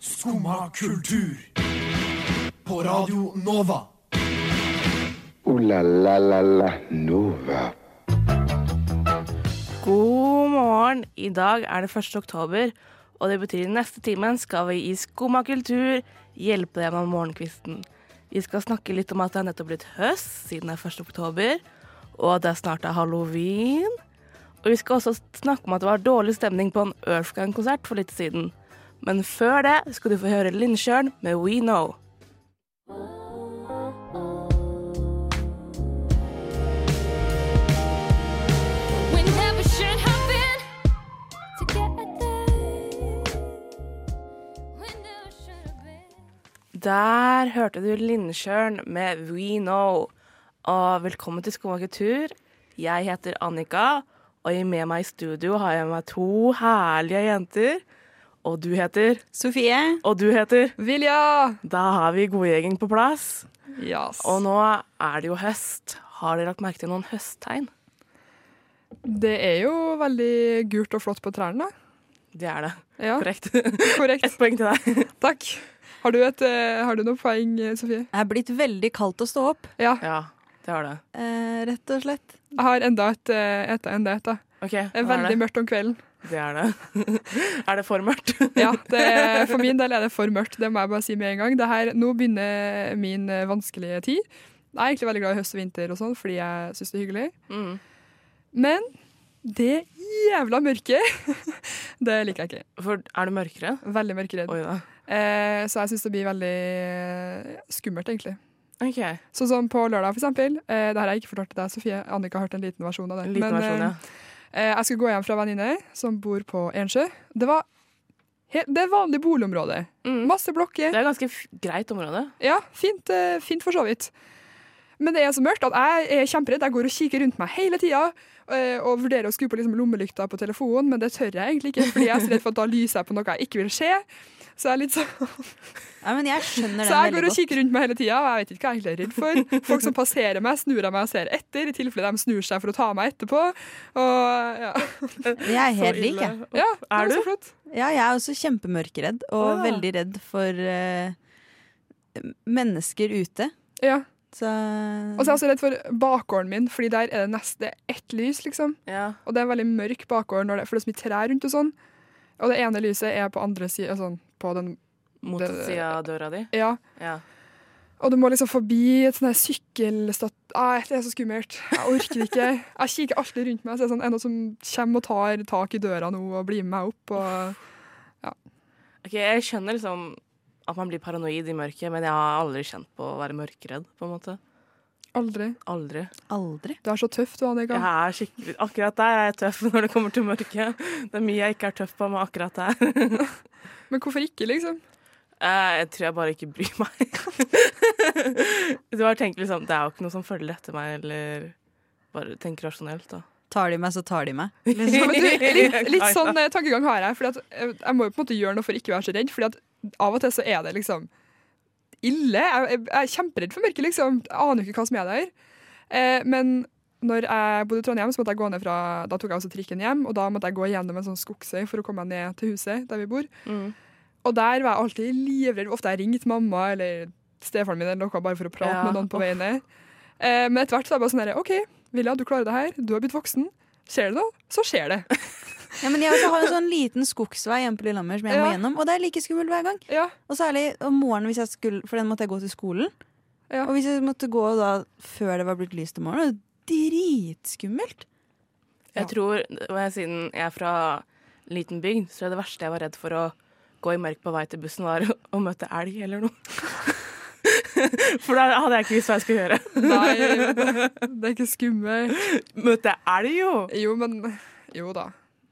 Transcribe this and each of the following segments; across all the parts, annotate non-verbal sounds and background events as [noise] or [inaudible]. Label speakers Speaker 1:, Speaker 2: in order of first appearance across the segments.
Speaker 1: Skumma kultur. På Radio Nova.
Speaker 2: Ooh la la la la Nova.
Speaker 3: God morgen. I dag er det 1. oktober, og det betyr i neste timen skal vi i Skumma kultur hjelpe deg gjennom morgenkvisten. Vi skal snakke litt om at det er nettopp blitt høst siden det er 1. oktober, og at det er snart er halloween. Og vi skal også snakke om at det var dårlig stemning på en Earthgang-konsert for litt siden. Men før det skal du få høre Lindsjørn med We Know.
Speaker 4: We never should have been together. We never should have been.
Speaker 3: Der hørte du Lindsjørn med We Know. Og velkommen til Skumma kultur. Jeg heter Annika, og i- med meg i studio har jeg med meg to herlige jenter. Og du heter
Speaker 5: Sofie.
Speaker 3: Og du heter
Speaker 5: Vilja.
Speaker 3: Da har vi godgjengen på plass.
Speaker 5: Yes.
Speaker 3: Og nå er det jo høst. Har dere lagt merke til noen høsttegn?
Speaker 6: Det er jo veldig gult og flott på trærne.
Speaker 3: Det er det.
Speaker 6: Ja,
Speaker 3: Korrekt. [laughs]
Speaker 6: korrekt.
Speaker 3: Ett poeng til deg. [laughs]
Speaker 6: Takk. Har du, et, eh, har du noen poeng, eh, Sofie?
Speaker 5: Det er blitt veldig kaldt å stå opp,
Speaker 6: Ja.
Speaker 3: Ja, det har det.
Speaker 5: eh, rett og slett.
Speaker 6: Jeg har enda et. eh, et, enda et da.
Speaker 3: OK.
Speaker 6: Det
Speaker 3: hva
Speaker 6: er
Speaker 3: er
Speaker 6: veldig
Speaker 3: det?
Speaker 6: mørkt om kvelden.
Speaker 3: det er det. er det [laughs] for mørkt?
Speaker 6: Ja, det er, For min del er det for mørkt, det må jeg bare si med en gang. Det her, nå begynner min eh, vanskelige tid. Jeg er egentlig veldig glad i høst og vinter og sånn, fordi jeg syns det er hyggelig.
Speaker 3: Mm.
Speaker 6: Men det jævla mørket, [laughs] det liker jeg ikke.
Speaker 3: For er du mørkere?
Speaker 6: Veldig mørkeredd.
Speaker 3: Oi da.
Speaker 6: Eh, så jeg syns det blir veldig eh, skummelt, egentlig.
Speaker 3: OK.
Speaker 6: Sånn som på lørdag, for eksempel. Eh, det her har jeg ikke fortalt til deg, Sofie. Annika har hørt en liten versjon av det.
Speaker 3: En liten
Speaker 6: Men,
Speaker 3: versjon, ja.
Speaker 6: eh, jeg skulle gå hjem fra en venninne som bor på Ensjø. Det var helt, det er vanlig boligområde.
Speaker 3: Mm.
Speaker 6: Masse blokker.
Speaker 3: Det er ganske f greit område.
Speaker 6: Ja, fint, eh, fint for så vidt. Men det er så mørkt at jeg er kjemperedd. Jeg går og kikker rundt meg hele tida eh, og vurderer å skru på liksom lommelykta på telefonen, men det tør jeg egentlig ikke, fordi jeg er så redd for at da lyser jeg på noe jeg ikke vil se. Så jeg er litt sånn
Speaker 5: Ja, men jeg skjønner den
Speaker 6: så jeg går
Speaker 5: veldig
Speaker 6: og kikker rundt meg hele tida, og jeg vet ikke hva jeg egentlig er redd for. Folk som passerer meg, snur jeg meg og ser etter, i tilfelle de snur seg for å ta meg etterpå. Og ja.
Speaker 5: godt. Jeg er helt lik, jeg.
Speaker 6: ja
Speaker 3: Er
Speaker 6: det var
Speaker 3: du?
Speaker 6: så flott.
Speaker 5: Ja, jeg er også kjempemørkeredd, og
Speaker 3: Ah.
Speaker 5: veldig redd for eh, mennesker ute.
Speaker 6: Ja.
Speaker 5: Så
Speaker 6: Og så er jeg også redd for bakgården min, fordi der er det nesten ett lys, liksom.
Speaker 3: Ja.
Speaker 6: Og det er en veldig mørk bakgård, når det, for det er så mye trær rundt og sånn. Og det ene lyset er på andre sida, sånn på den
Speaker 3: Mot
Speaker 6: Det-
Speaker 3: sida av døra di.
Speaker 6: Ja.
Speaker 3: Ja.
Speaker 6: Og du må liksom forbi et sånn her ah, sykkelstat... Nei, det er så skummelt. Jeg orker ikke. Jeg kikker alltid rundt meg, så det er sånn, er det noen som kommer og tar tak i døra nå og blir med meg opp. og...
Speaker 3: Ok, Jeg skjønner liksom at man blir paranoid i mørket, men jeg har aldri kjent på å være mørkeredd. på en måte.
Speaker 6: Aldri.
Speaker 3: Aldri.
Speaker 5: aldri.
Speaker 6: Du er så tøff, du, Annika.
Speaker 3: Jeg er skikkelig, Akkurat der er jeg tøff [laughs] når det kommer til mørket. Det er mye jeg ikke er tøff på med akkurat der. [laughs]
Speaker 6: Men hvorfor ikke, liksom?
Speaker 3: Eh, Jeg tror jeg bare ikke bryr meg. [laughs] Du har tenkt liksom, Det er jo ikke noe som følger etter meg, eller bare tenk rasjonelt, da.
Speaker 5: Tar de meg, så tar de meg.
Speaker 6: Ja, men du, litt,
Speaker 3: [laughs]
Speaker 6: litt sånn eh, tankegang har jeg. Fordi at eh, jeg må jo på en måte gjøre noe for ikke å være så redd. Fordi at av og til så er det liksom ille. Jeg, jeg, jeg er kjemperedd for mørket, liksom. Jeg aner jo ikke hva som er der. Eh, men når jeg bodde i Trondheim, så måtte jeg gå ned fra Da tok jeg også trikken hjem, og da måtte jeg gå gjennom en sånn skogsøy for å komme meg ned til huset der vi bor.
Speaker 3: Mm.
Speaker 6: Og der var jeg alltid livredd. Ofte har jeg ringt mamma eller stefaren min eller noe bare for å prate
Speaker 3: Ja.
Speaker 6: med noen på vei ned. Eh, men etter hvert så er det bare sånn her OK, Vilja, du klarer det her. Du har blitt voksen. Skjer det noe, så skjer
Speaker 3: [laughs]
Speaker 6: det.
Speaker 5: Ja, men jeg også har en sånn liten skogsvei hjemme på Lillehammer som jeg må
Speaker 6: Ja.
Speaker 5: gjennom, og det er like skummelt hver gang.
Speaker 6: Ja,
Speaker 5: Og særlig om morgenen, hvis jeg skulle, for den måtte jeg gå til skolen.
Speaker 6: Ja.
Speaker 5: Og hvis jeg måtte gå da før det var blitt lyst om morgenen, det var dritskummelt.
Speaker 3: Jeg
Speaker 6: Ja.
Speaker 3: tror, og jeg- Siden jeg er fra liten bygd, så er det verste jeg var redd for å gå i mørk på vei til bussen, var å møte elg eller noe. [laughs] For da hadde jeg ikke visst hva jeg skulle gjøre. [laughs]
Speaker 6: Nei, det er ikke skummelt.
Speaker 3: Møte elg, jo!
Speaker 6: Jo, men Jo da.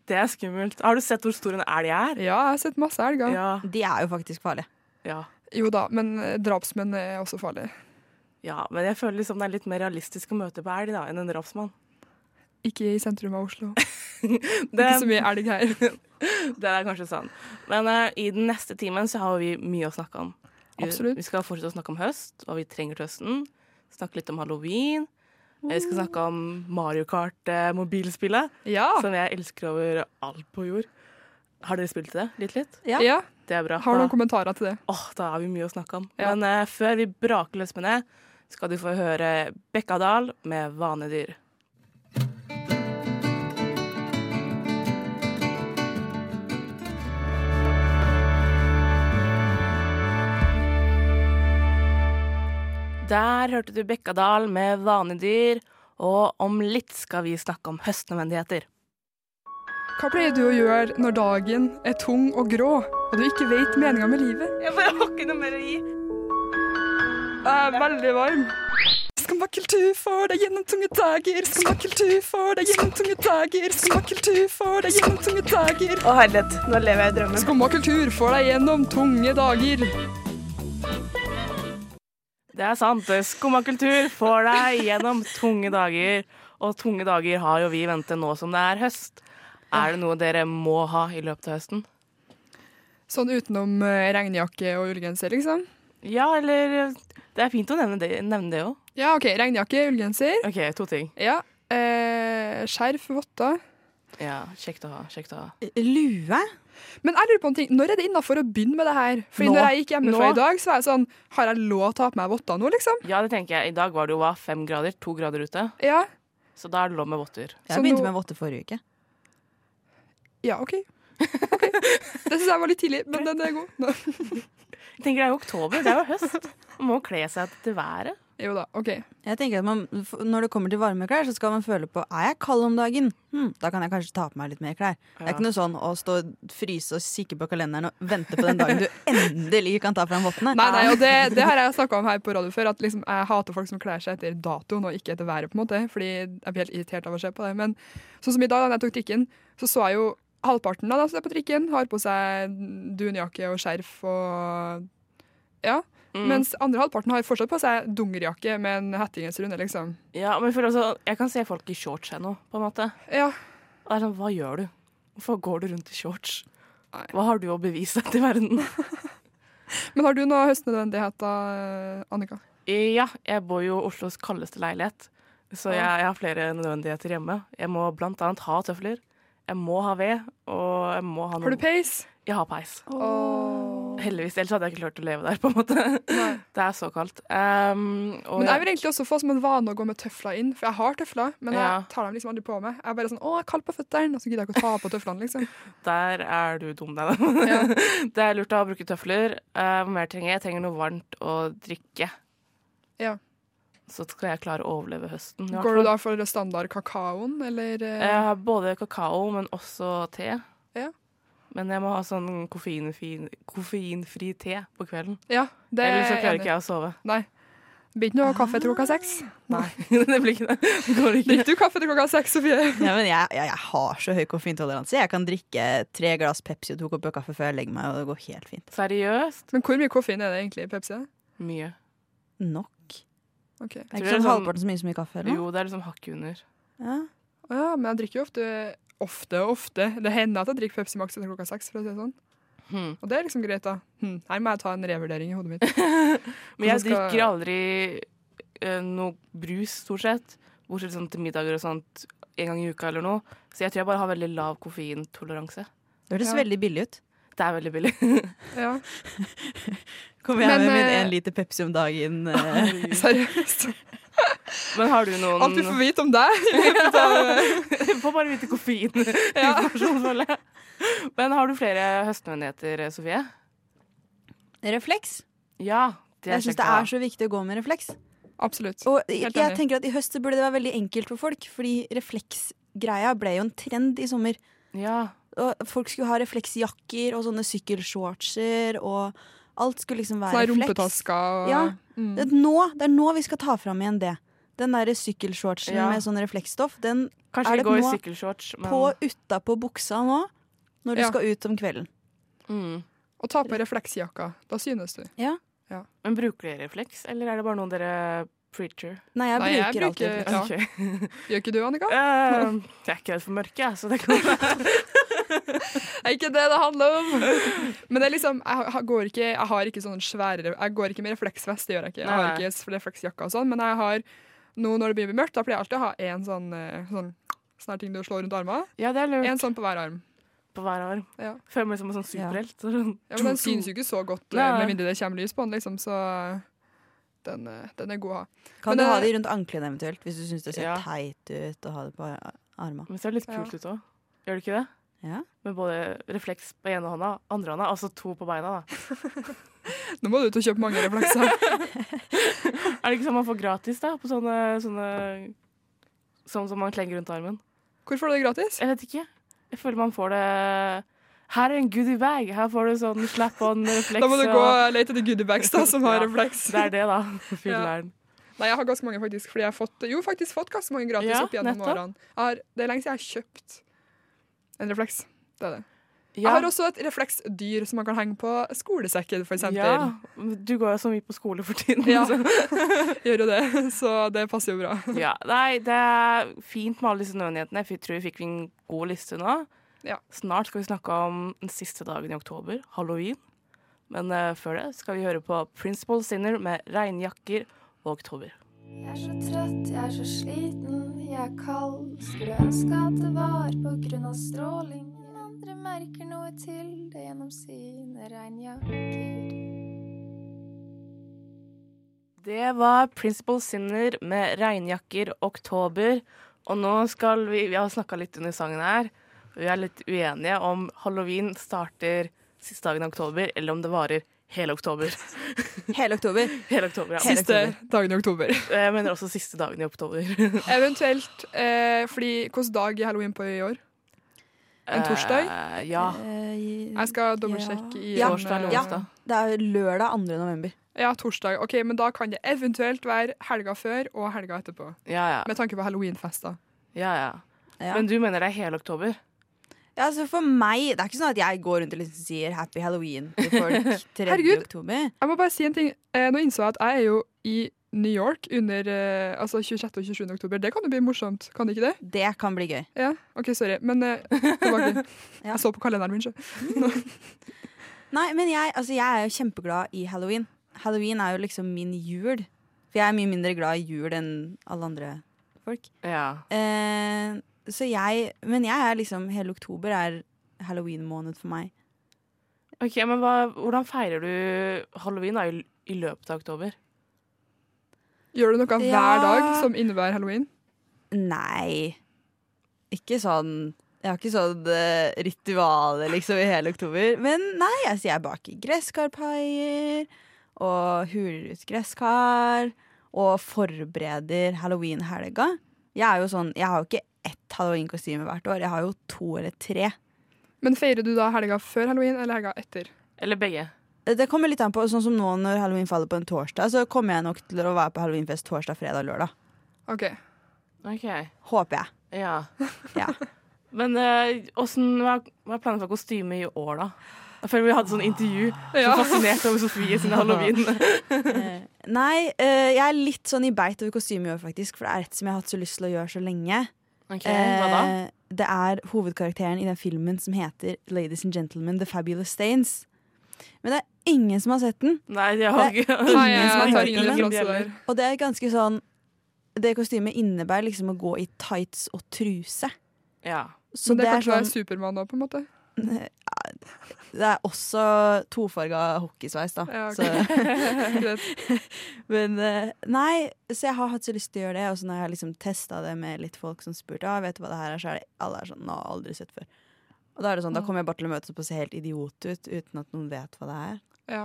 Speaker 3: Det er skummelt. Har du sett hvor stor en elg er?
Speaker 6: Ja, jeg har sett masse elger.
Speaker 3: Ja.
Speaker 5: De er jo faktisk farlige.
Speaker 3: ja.
Speaker 6: Jo da, men eh, drapsmenn er også farlige.
Speaker 3: Ja, men jeg føler liksom det er litt mer realistisk å møte på elg da, enn en drapsmann.
Speaker 6: Ikke i sentrum av
Speaker 3: [laughs]
Speaker 6: Oslo.
Speaker 3: Det,
Speaker 6: Ikke så mye elg her.
Speaker 3: det er kanskje sant. Men eh, i den neste timen så har vi mye å snakke om. Vi-
Speaker 6: Absolutt.
Speaker 3: Vi skal fortsette å snakke om høst, hva vi trenger til høsten. Snakke litt om halloween. Eh, Vi skal snakke om Mario eh, Kart-mobilspillet,
Speaker 6: Ja.
Speaker 3: som jeg elsker over alt på jord. Har dere spilt det? Litt, litt?
Speaker 5: Ja.
Speaker 6: ja.
Speaker 3: Det er bra.
Speaker 6: Har du
Speaker 3: da-
Speaker 6: noen kommentarer til det?
Speaker 3: Åh, da har vi mye å snakke om.
Speaker 6: Ja.
Speaker 3: Men eh, før vi braker løs med det, skal du få høre Bekkadal med vanedyr. Der hørte du Bekkadal med vanedyr, og om litt skal vi snakke om høstnødvendigheter.
Speaker 6: Hva pleier du å gjøre når dagen er tung og grå, og du ikke vet meninga med livet?
Speaker 3: Jeg har ikke noe mer å gi.
Speaker 6: Jeg er veldig varm. Skammakkultur for deg gjennom tunge dager. Skammakkultur for deg gjennom tunge dager. Skammakkultur for deg gjennom tunge dager.
Speaker 7: Å herlighet, nå lever jeg i drømmen.
Speaker 6: Skammakkultur for deg gjennom tunge dager.
Speaker 3: Det er sant. Skumma kultur får deg gjennom tunge dager. Og tunge dager har jo vi i vente nå som det er høst. Er det noe dere må ha i løpet av høsten?
Speaker 6: Sånn utenom eh, regnjakke og ullgenser, liksom.
Speaker 3: Ja, eller Det er fint å nevne det, nevne det òg.
Speaker 6: Ja, OK. Regnjakke, ullgenser.
Speaker 3: OK, to ting.
Speaker 6: Ja. Eh, skjerf, votter.
Speaker 3: Ja, Kjekt å ha. kjekt å ha.
Speaker 5: Lue?
Speaker 6: Men jeg lurer på en ting, når er det innafor å begynne med det her? Fordi
Speaker 3: Nå.
Speaker 6: når jeg gikk hjemmefra
Speaker 3: Nå.
Speaker 6: i dag, så var jeg sånn Har jeg lov til å ha på meg votter nå, liksom?
Speaker 3: Ja, det tenker jeg. I dag var det jo hva, fem grader, to grader ute,
Speaker 6: Ja.
Speaker 3: så da er det lov med votter.
Speaker 6: Så
Speaker 5: Jeg begynte
Speaker 6: nå-
Speaker 5: med votter forrige uke.
Speaker 6: Ja, OK. Ok.
Speaker 3: [laughs]
Speaker 6: Det syns jeg var litt tidlig, men den er god. Nå.
Speaker 3: Jeg tenker Det er jo oktober, det er jo [laughs] høst. Man må kle seg til været.
Speaker 6: Jo da, OK.
Speaker 5: Jeg tenker at man, f- Når det kommer til varme klær, så skal man føle på Er jeg kald om dagen. Hm, da kan jeg kanskje ta på meg litt mer klær. Det er ikke noe sånn å stå og fryse og kikke på kalenderen og vente på den dagen du endelig kan ta fram vottene.
Speaker 6: Nei, nei, og det, det har jeg snakka om her på radio før, at liksom, jeg hater folk som kler seg etter datoen og ikke etter været, på en måte, fordi jeg blir helt irritert av å se på det. Men sånn som i dag, da jeg tok trikken, så så jeg jo halvparten av dem som er på trikken, har på seg dunjakke og skjerf og Ja.
Speaker 3: Mm.
Speaker 6: Mens andre halvparten har fortsatt på seg dungerjakke med en hettegenser under, liksom.
Speaker 3: ja, men jeg, føler også, jeg kan se folk i shorts her nå, på en måte.
Speaker 6: Ja.
Speaker 3: Og det er sånn, hva gjør du? Hvorfor går du rundt i shorts?
Speaker 6: Nei.
Speaker 3: Hva har du å bevise til verden?
Speaker 6: Men har du noe høstnødvendigheter, Annika?
Speaker 3: Ja, jeg bor jo i Oslos kaldeste leilighet, så jeg, jeg har flere nødvendigheter hjemme. Jeg må blant annet ha tøfler, jeg må ha ved, og jeg må ha noe...
Speaker 6: Har du peis?
Speaker 3: Jeg har peis.
Speaker 6: Åh.
Speaker 3: Heldigvis, ellers hadde jeg ikke klart å leve der, på en måte.
Speaker 6: Nei.
Speaker 3: [laughs] Det er så kaldt. Um, og
Speaker 6: Men jeg
Speaker 3: jeg,
Speaker 6: vil egentlig også få som en vane å gå med tøfler inn, for jeg har tøfler, men
Speaker 3: Ja.
Speaker 6: jeg tar dem liksom aldri på meg. Jeg er bare sånn 'Å, jeg er kald på føttene', og så gidder jeg ikke å ta på tøflene,
Speaker 3: [laughs]
Speaker 6: liksom.
Speaker 3: der er du dum, deg. [laughs] Det er lurt å bruke tøfler. Eh, Hva mer trenger jeg? Jeg trenger noe varmt å drikke.
Speaker 6: Ja.
Speaker 3: Så skal jeg klare å overleve høsten. i hvert
Speaker 6: Går
Speaker 3: fall.
Speaker 6: du da for standard kakaoen, eller eh,
Speaker 3: Jeg har både kakao, men også te.
Speaker 6: Ja.
Speaker 3: Men jeg må ha sånn koffeinfri, koffeinfri te på kvelden.
Speaker 6: Ja, det er
Speaker 3: Ellers så
Speaker 6: jeg
Speaker 3: klarer
Speaker 6: enig i.
Speaker 3: ikke jeg Ah. å sove. [laughs]
Speaker 6: Nei. Det blir ikke noe kaffe til klokka seks.
Speaker 3: Nei, det blir ikke det. det går
Speaker 6: [laughs]
Speaker 3: ikke.
Speaker 6: Drikker du kaffe til klokka seks, Sofie?
Speaker 5: Ja, men jeg, jeg, jeg har så høy koffeintoleranse. Jeg kan drikke tre glass Pepsi og to kopper kaffe før jeg legger meg, og det går helt fint.
Speaker 3: Seriøst?
Speaker 6: Men hvor mye koffein er det egentlig i Pepsi?
Speaker 3: Mye.
Speaker 5: Nok.
Speaker 6: Ok.
Speaker 5: Det er
Speaker 3: Tror
Speaker 5: ikke
Speaker 3: jeg
Speaker 5: sånn
Speaker 3: sånn-
Speaker 5: halvparten så mye som mye kaffe eller noe.
Speaker 3: Jo, det er liksom hakket under.
Speaker 5: Ja.
Speaker 6: Å Ja, men jeg drikker jo ofte Ofte og ofte. Det hender at jeg drikker Pepsi Max etter klokka seks. for å si det sånn.
Speaker 3: Hmm.
Speaker 6: Og det er liksom greit, da. Hm, Her må jeg ta en revurdering i hodet mitt.
Speaker 3: [laughs] Men jeg
Speaker 6: Hvordan skal-
Speaker 3: drikker aldri eh, noe brus, stort sett. Bortsett sånn til middager og sånt en gang i uka eller noe. Så jeg tror jeg bare har veldig lav koffeintoleranse.
Speaker 5: Det hørtes
Speaker 6: Ja.
Speaker 5: veldig billig ut.
Speaker 3: Det er veldig billig.
Speaker 6: [laughs] Ja,
Speaker 5: Kommer jeg
Speaker 6: Men,
Speaker 5: med min
Speaker 6: eh,
Speaker 5: én liter Pepsi om dagen? eh,
Speaker 3: [laughs]
Speaker 6: Seriøst.
Speaker 3: Men har du noen
Speaker 6: Alt vi får vite
Speaker 3: [laughs]
Speaker 6: om deg. i løpet av-
Speaker 3: Får bare vite [laughs] koffeininformasjon, føler jeg. Men har du flere høstnødvendigheter, Sofie?
Speaker 5: refleks.
Speaker 3: Ja. Det
Speaker 5: Jeg syns det er så viktig å gå med refleks.
Speaker 6: Absolutt.
Speaker 5: Og jeg,
Speaker 6: Helt enig.
Speaker 5: jeg tenker at i høst så burde det være veldig enkelt for folk, fordi refleksgreia ble jo en trend i sommer.
Speaker 3: Ja.
Speaker 5: Og folk skulle ha refleksjakker og sånne sykkelshortser, og alt skulle liksom være
Speaker 6: Sånne
Speaker 5: refleks.
Speaker 6: sånn rumpetasker og
Speaker 5: Ja.
Speaker 6: mm.
Speaker 5: Det er, nå, det er nå vi skal ta fram igjen det. Den derre sykkelshortsen
Speaker 3: Ja.
Speaker 5: med sånn refleksstoff, den
Speaker 3: Kanskje ikke
Speaker 5: Er det
Speaker 3: gå i
Speaker 5: noe
Speaker 3: sykkelshorts, men
Speaker 5: på utapå buksa nå, når du
Speaker 6: Ja.
Speaker 5: skal ut om kvelden.
Speaker 3: mm.
Speaker 6: Og ta på refleksjakka. Da synes du.
Speaker 3: Men bruker dere refleks, eller er det bare noen dere preacher?
Speaker 5: Nei, jeg
Speaker 6: Nei,
Speaker 5: bruker,
Speaker 6: jeg
Speaker 5: alltid
Speaker 6: bruker-
Speaker 5: refleks.
Speaker 6: Ja.
Speaker 3: Ok.
Speaker 6: Gjør ikke du, Annika?
Speaker 3: Eh, jeg er ikke redd for mørke, jeg, så det kan
Speaker 6: Det er ikke det det handler om. [laughs] Men det er liksom, jeg, har- går ikke, jeg har ikke sånne svære Jeg går ikke med refleksvest, det gjør jeg ikke. Jeg har
Speaker 3: Nei.
Speaker 6: ikke s- refleksjakke og sånn, men jeg har nå når det begynner å bli mørkt, da pleier jeg alltid å ha en sånn, eh, sånn sånn her ting du slår rundt armene.
Speaker 3: Ja, det er lurt.
Speaker 6: En sånn på hver arm.
Speaker 3: på hver arm.
Speaker 6: Ja.
Speaker 3: Føler meg som en sånn superhelt. så sånn-
Speaker 6: Ja, men den syns jo ikke så godt eh,
Speaker 3: Nei.
Speaker 6: med mindre det kommer lys på den, liksom, så den, eh, den er god å ha.
Speaker 5: Kan
Speaker 6: Men
Speaker 5: du ha
Speaker 6: det-
Speaker 5: de rundt anklene eventuelt, hvis du syns det ser
Speaker 3: Ja.
Speaker 5: teit ut å ha det på ar- arma?
Speaker 3: Men det ser litt
Speaker 6: Ja.
Speaker 3: kult ut òg. Gjør det ikke det?
Speaker 5: Ja.
Speaker 3: Med både refleks på ene hånda, andre hånda, altså to på beina. da.
Speaker 6: Nå må du ut og kjøpe mange reflekser.
Speaker 3: Er det ikke sånn man får gratis da, på sånne, sånne Sånn som man klenger rundt armen?
Speaker 6: Hvor får du det gratis?
Speaker 3: Jeg vet ikke. Jeg føler man får det Her er en goodiebag! Her får du sånn slap on refleks.
Speaker 6: [laughs] Da må du gå
Speaker 3: og-
Speaker 6: og lete etter goodiebags da, som har
Speaker 3: Ja,
Speaker 6: refleks.
Speaker 3: Det er det, da. [laughs] Fyller'n.
Speaker 6: Nei, jeg har ganske mange faktisk, fordi jeg har fått, jo, faktisk fått ganske mange gratis
Speaker 3: Ja,
Speaker 6: opp gjennom
Speaker 3: nettopp.
Speaker 6: årene. Jeg har, det er lenge siden jeg har kjøpt en refleks. Det er det.
Speaker 3: Ja.
Speaker 6: Jeg har også et refleksdyr som man kan henge på skolesekken, for eksempel.
Speaker 3: Ja, du går jo så mye på skole for tiden.
Speaker 6: [laughs] Ja. [laughs]
Speaker 3: så- [laughs]
Speaker 6: Gjør jo det, så det passer jo bra.
Speaker 3: ja. Nei, det er fint med alle disse nødvendighetene. Jeg tror vi fikk en god liste nå.
Speaker 6: Ja.
Speaker 3: Snart skal vi snakke om den siste dagen i oktober, halloween. Men eh, før det skal vi høre på Principal Sinner med regnjakker og oktober.
Speaker 8: Jeg er så trøtt, jeg er så sliten, jeg er kald. Skulle ønske at det var på grunn av stråling. Men Andre merker noe til det gjennom sine regnjakker.
Speaker 3: Det var Principal Sinner med regnjakker oktober. Og nå skal vi Vi har snakka litt under sangen her. og Vi er litt uenige om halloween starter siste dagen i oktober, eller om det varer hele oktober. [laughs]
Speaker 5: Hele oktober.
Speaker 3: Hele oktober, ja.
Speaker 5: Hele-
Speaker 6: Siste dagen i
Speaker 3: [laughs]
Speaker 6: oktober.
Speaker 3: Jeg mener også siste dagen i oktober.
Speaker 6: Eventuelt, eh, fordi hvilken dag er halloween på i år? [laughs] En torsdag?
Speaker 3: Eh, ja.
Speaker 6: Jeg skal dobbeltsjekke i eh,
Speaker 5: Ja.
Speaker 3: Torsdag eller
Speaker 5: Ja.
Speaker 3: onsdag.
Speaker 5: Det er lørdag 2. november.
Speaker 6: Ja, torsdag. Ok, Men da kan det eventuelt være helga før og helga etterpå.
Speaker 3: Ja ja.
Speaker 6: Med tanke på halloweenfester.
Speaker 3: ja, ja.
Speaker 5: Ja.
Speaker 3: Men du mener det er hele oktober?
Speaker 5: Ja, altså for meg, Det er ikke sånn at jeg går rundt og liksom sier 'happy halloween' til folk 3.
Speaker 6: Herregud.
Speaker 5: oktober.
Speaker 6: Jeg må bare si en ting. Eh, nå innså jeg at jeg er jo i New York under eh, altså 26. og 27. oktober. Det kan jo bli morsomt, kan det ikke det?
Speaker 5: Det kan bli gøy.
Speaker 6: Ja, OK, sorry. Men eh, [laughs] tilbake.
Speaker 5: [laughs] Ja.
Speaker 6: Jeg så på kalenderen min, sjø.
Speaker 5: Nei, men jeg, altså jeg er jo kjempeglad i halloween. Halloween er jo liksom min jul. For jeg er mye mindre glad i jul enn alle andre folk.
Speaker 3: Ja.
Speaker 5: Eh, så jeg Men jeg er liksom Hele oktober er halloween-måned for meg.
Speaker 3: Ok, Men hva, hvordan feirer du halloween da, i, i løpet av oktober?
Speaker 6: Gjør du noe
Speaker 5: Ja.
Speaker 6: hver dag som innebærer halloween?
Speaker 5: Nei. Ikke sånn Jeg har ikke sånn uh, ritualer liksom i hele oktober. Men nei, altså jeg baker gresskarpaier og huler ut gresskar. Og forbereder halloween-helga. Jeg er jo sånn, jeg har jo ikke ett halloween-kostyme hvert år. Jeg har jo to eller tre.
Speaker 6: Men feirer du da helga før halloween eller helga etter?
Speaker 3: Eller begge?
Speaker 5: Det kommer litt an på, sånn som nå når halloween faller på en torsdag, så kommer jeg nok til å være på halloweenfest torsdag, fredag, lørdag.
Speaker 6: OK.
Speaker 3: OK.
Speaker 5: Håper jeg.
Speaker 3: Ja.
Speaker 5: [laughs] Ja.
Speaker 3: Men eh, åssen- hva, hva er planene for kostyme i år, da? Jeg føler vi hadde sånn intervju. Så
Speaker 6: Ja.
Speaker 3: fascinert over Sofie sin halloween.
Speaker 5: Nei, eh, jeg er litt sånn i beit over kostyme i år, faktisk. For det er et som jeg har hatt så lyst til å gjøre så lenge.
Speaker 3: [laughs] Ok, hva da?
Speaker 5: Eh, det er hovedkarakteren i den filmen som heter Ladies and Gentlemen, The Fabulous Stains. Men det er ingen som har sett den,
Speaker 3: Nei, jeg har
Speaker 5: det er
Speaker 3: ikke
Speaker 6: Nei,
Speaker 5: eh, ingen som
Speaker 6: jeg
Speaker 5: har
Speaker 6: tar
Speaker 5: hørt
Speaker 6: ingen
Speaker 5: om
Speaker 6: referanse der.
Speaker 5: og det er ganske sånn Det kostymet innebærer liksom å gå i tights og truse.
Speaker 3: Ja.
Speaker 5: Så det,
Speaker 6: Men det kan
Speaker 5: er
Speaker 6: ikke være
Speaker 5: sånn,
Speaker 6: Supermann òg, på en måte.
Speaker 5: det er også tofarga hockeysveis, da.
Speaker 6: Ja, ok.
Speaker 5: så,
Speaker 6: [laughs] Greit.
Speaker 5: men eh, nei, så jeg har hatt så lyst til å gjøre det. Og så når jeg har liksom testa det med litt folk som spurte ah, vet du hva det her er, så er det alle er sånn Nå har jeg aldri sett før. Og da er det sånn, da kommer jeg bare til å møtes opp og se helt idiot ut uten at noen vet hva det er.
Speaker 6: Ja.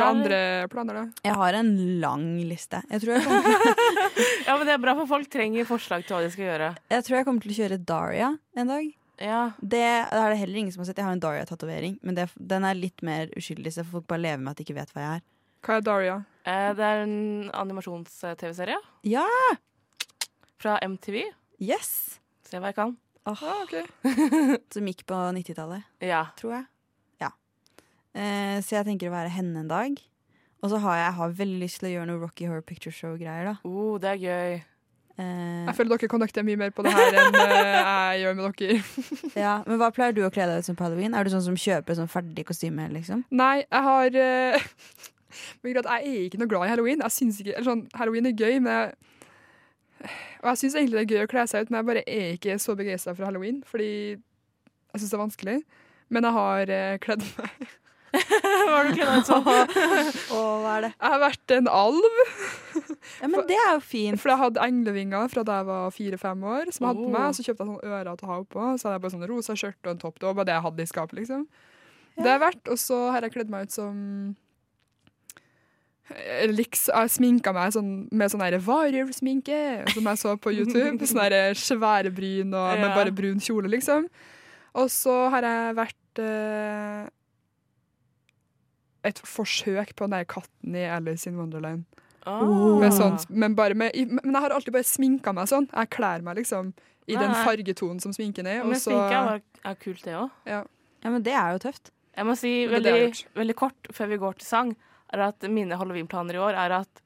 Speaker 3: Ja,
Speaker 6: du
Speaker 3: det er-
Speaker 6: andre planer, da?
Speaker 5: Jeg har en lang liste. Jeg tror jeg kommer,
Speaker 3: ja, men det er bra, for folk trenger forslag til hva de skal gjøre.
Speaker 5: jeg tror jeg kommer til å kjøre Daria en dag.
Speaker 3: Ja.
Speaker 5: Det er det heller ingen som har sett. Jeg har en Daria-tatovering, men det, den er litt mer uskyldig, så folk bare lever med at de ikke vet hva jeg er.
Speaker 6: Hva er Daria?
Speaker 3: Eh, det er en animasjons-TV-serie
Speaker 5: Ja!
Speaker 3: fra MTV.
Speaker 5: Yes!
Speaker 3: Se hva jeg kan.
Speaker 6: Ah, ok.
Speaker 5: [laughs] Som gikk på 90-tallet.
Speaker 3: Ja.
Speaker 5: tror jeg. Ja. Eh, så jeg tenker å være henne en dag. Og så har jeg, jeg har veldig lyst til å gjøre noe Rocky Horror Picture Show-greier, da.
Speaker 3: Oh, det er gøy.
Speaker 5: Eh,
Speaker 6: Jeg føler dere connecter mye mer på det her enn eh, jeg gjør med dere.
Speaker 5: ja. Men hva pleier du å kle deg ut som på halloween? Er du sånn som kjøper sånn ferdig kostyme, liksom?
Speaker 6: Nei, jeg har eh, [laughs] men greit, Jeg er ikke noe glad i halloween. Jeg synes ikke, eller sånn, Halloween er gøy, men jeg, og jeg syns egentlig det er gøy å kle seg ut, men jeg bare er ikke så begeistra for halloween. Fordi jeg Jeg syns det er vanskelig. Men jeg har eh, kledd meg.
Speaker 3: Hva har du kledd deg ut som?
Speaker 5: Og hva er det?
Speaker 6: Jeg har vært en alv,
Speaker 5: Ja, men det er jo fint.
Speaker 6: for jeg hadde englevinger fra da jeg var fire-fem år. Som jeg hadde på meg,
Speaker 3: Oh.
Speaker 6: og Så kjøpte jeg sånne ører til å ha oppå. Så hadde jeg bare sånn rosa skjørt og en topp. Det var bare det jeg hadde i skapet. liksom. Det har jeg vært, Og så har jeg kledd meg ut som Eh, Liks, jeg sminka meg sånn, med sånn her warrior-sminke, som jeg så på
Speaker 3: [laughs]
Speaker 6: YouTube. Sånne her svære bryn og,
Speaker 3: Ja.
Speaker 6: med bare brun kjole, liksom. Og så har jeg vært eh, et forsøk på den der katten i Alice in Wonderland.
Speaker 3: [laughs] Ah.
Speaker 6: Med
Speaker 5: sånn
Speaker 6: sånt, men, bare med, i- men jeg har alltid bare sminka meg sånn. Jeg kler meg liksom i
Speaker 3: Nei,
Speaker 6: den
Speaker 3: nei.
Speaker 6: fargetonen som sminken er. Og
Speaker 3: Men
Speaker 6: så,
Speaker 3: sminke er, er kult, det òg.
Speaker 5: Ja, men det er jo tøft.
Speaker 3: Jeg må si
Speaker 6: Det er det
Speaker 3: veldig,
Speaker 6: jeg har gjort.
Speaker 3: veldig kort før vi går til sang, er at mine halloweenplaner i år er at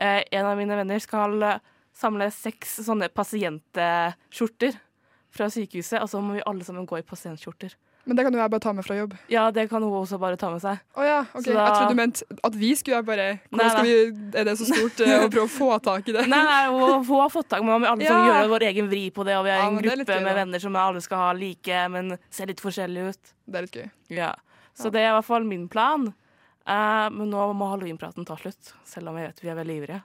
Speaker 3: eh, en av mine venner skal eh, samle seks sånne pasientskjorter fra sykehuset, og så må vi alle sammen gå i pasientskjorter.
Speaker 6: men det kan jo jeg bare ta med fra jobb.
Speaker 3: Ja, det kan hun også bare ta med seg.
Speaker 6: Å ja, ok.
Speaker 3: Så da-
Speaker 6: Jeg trodde du mente at vi skulle være bare
Speaker 3: Nei,
Speaker 6: Hvordan skal vi, Er det så stort eh, å prøve å få tak i det?
Speaker 3: Nei, nei, hun, hun har fått tak i meg, og vi alle sammen
Speaker 6: [laughs] Ja.
Speaker 3: gjør vår egen vri på det, og vi er
Speaker 6: Ja,
Speaker 3: en
Speaker 6: men det er litt
Speaker 3: gruppe
Speaker 6: gøy,
Speaker 3: med
Speaker 6: da.
Speaker 3: venner som alle skal ha like, men ser litt forskjellige ut.
Speaker 6: Det er litt gøy.
Speaker 3: Ja. Så det er i hvert fall min plan. Eh, men nå må halloweenpraten ta slutt, selv om jeg vet vi er veldig ivrige.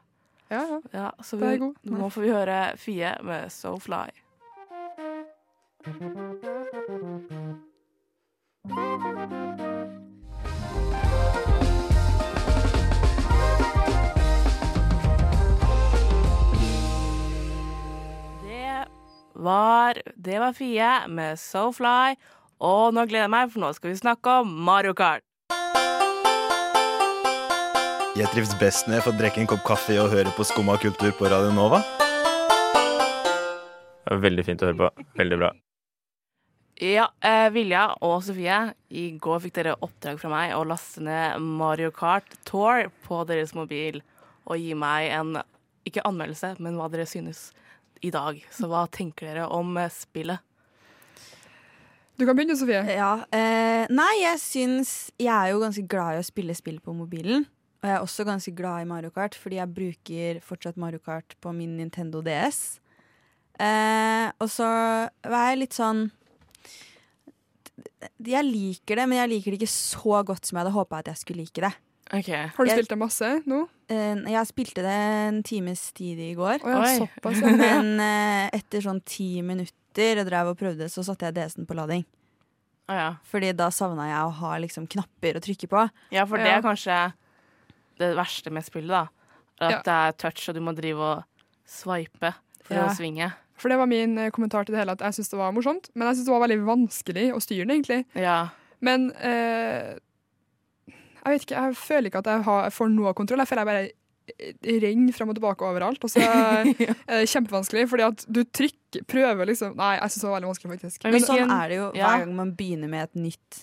Speaker 6: Ja, ja.
Speaker 3: Ja, så
Speaker 6: Det er
Speaker 3: vi,
Speaker 6: god.
Speaker 3: nå får vi høre Fie med So Fly. Det var, det var Fie med So Fly. Og nå gleder jeg meg, for nå skal vi snakke om Mario Kart.
Speaker 9: Jeg trives best når jeg får drikke en kopp kaffe og høre på Skumma kultur på Radio Nova.
Speaker 10: Veldig fint å høre på. Veldig bra.
Speaker 3: Ja, eh, Vilja og Sofie, i går fikk dere oppdrag fra meg å laste ned Mario Kart Tour på deres mobil og gi meg en, ikke anmeldelse, men hva dere synes i dag. Så hva tenker dere om eh, spillet?
Speaker 6: Du kan begynne, Sofie.
Speaker 5: Ja, eh, Nei, jeg syns Jeg er jo ganske glad i å spille spill på mobilen. Og jeg er også ganske glad i Mario Kart, fordi jeg bruker fortsatt Mario Kart på min Nintendo DS. Eh, og så var jeg litt sånn Jeg liker det, men jeg liker det ikke så godt som jeg hadde håpa at jeg skulle like det.
Speaker 3: Ok.
Speaker 6: Har du
Speaker 5: Jeg-
Speaker 6: spilt det masse nå?
Speaker 5: Eh, jeg spilte det en times tid i går.
Speaker 6: [laughs] Å ja,
Speaker 3: Oi.
Speaker 6: såpass. ja.
Speaker 5: Men eh, etter sånn ti minutter og drev og prøvde, så satte jeg DS-en på lading.
Speaker 3: Å ja.
Speaker 5: Fordi da savna jeg å ha liksom knapper å trykke på.
Speaker 3: ja, for det
Speaker 6: Ja.
Speaker 3: er kanskje det verste med spillet, da. At
Speaker 6: Ja.
Speaker 3: det er touch, og du må drive og swipe for
Speaker 5: Ja.
Speaker 3: å svinge.
Speaker 6: For det var min eh, kommentar til det hele, at jeg syns det var morsomt. Men jeg syns det var veldig vanskelig å styre det, egentlig.
Speaker 3: Ja.
Speaker 6: Men eh, jeg vet ikke, jeg føler ikke at jeg har, får noe kontroll. Jeg føler jeg bare eh, renner frem og tilbake overalt. Og så er det kjempevanskelig, fordi at du trykker, prøver liksom Nei, jeg syns det var veldig vanskelig, faktisk.
Speaker 3: Men
Speaker 5: Men
Speaker 3: hvilken-
Speaker 5: sånn er det jo
Speaker 3: ja.
Speaker 5: hver gang man begynner med et nytt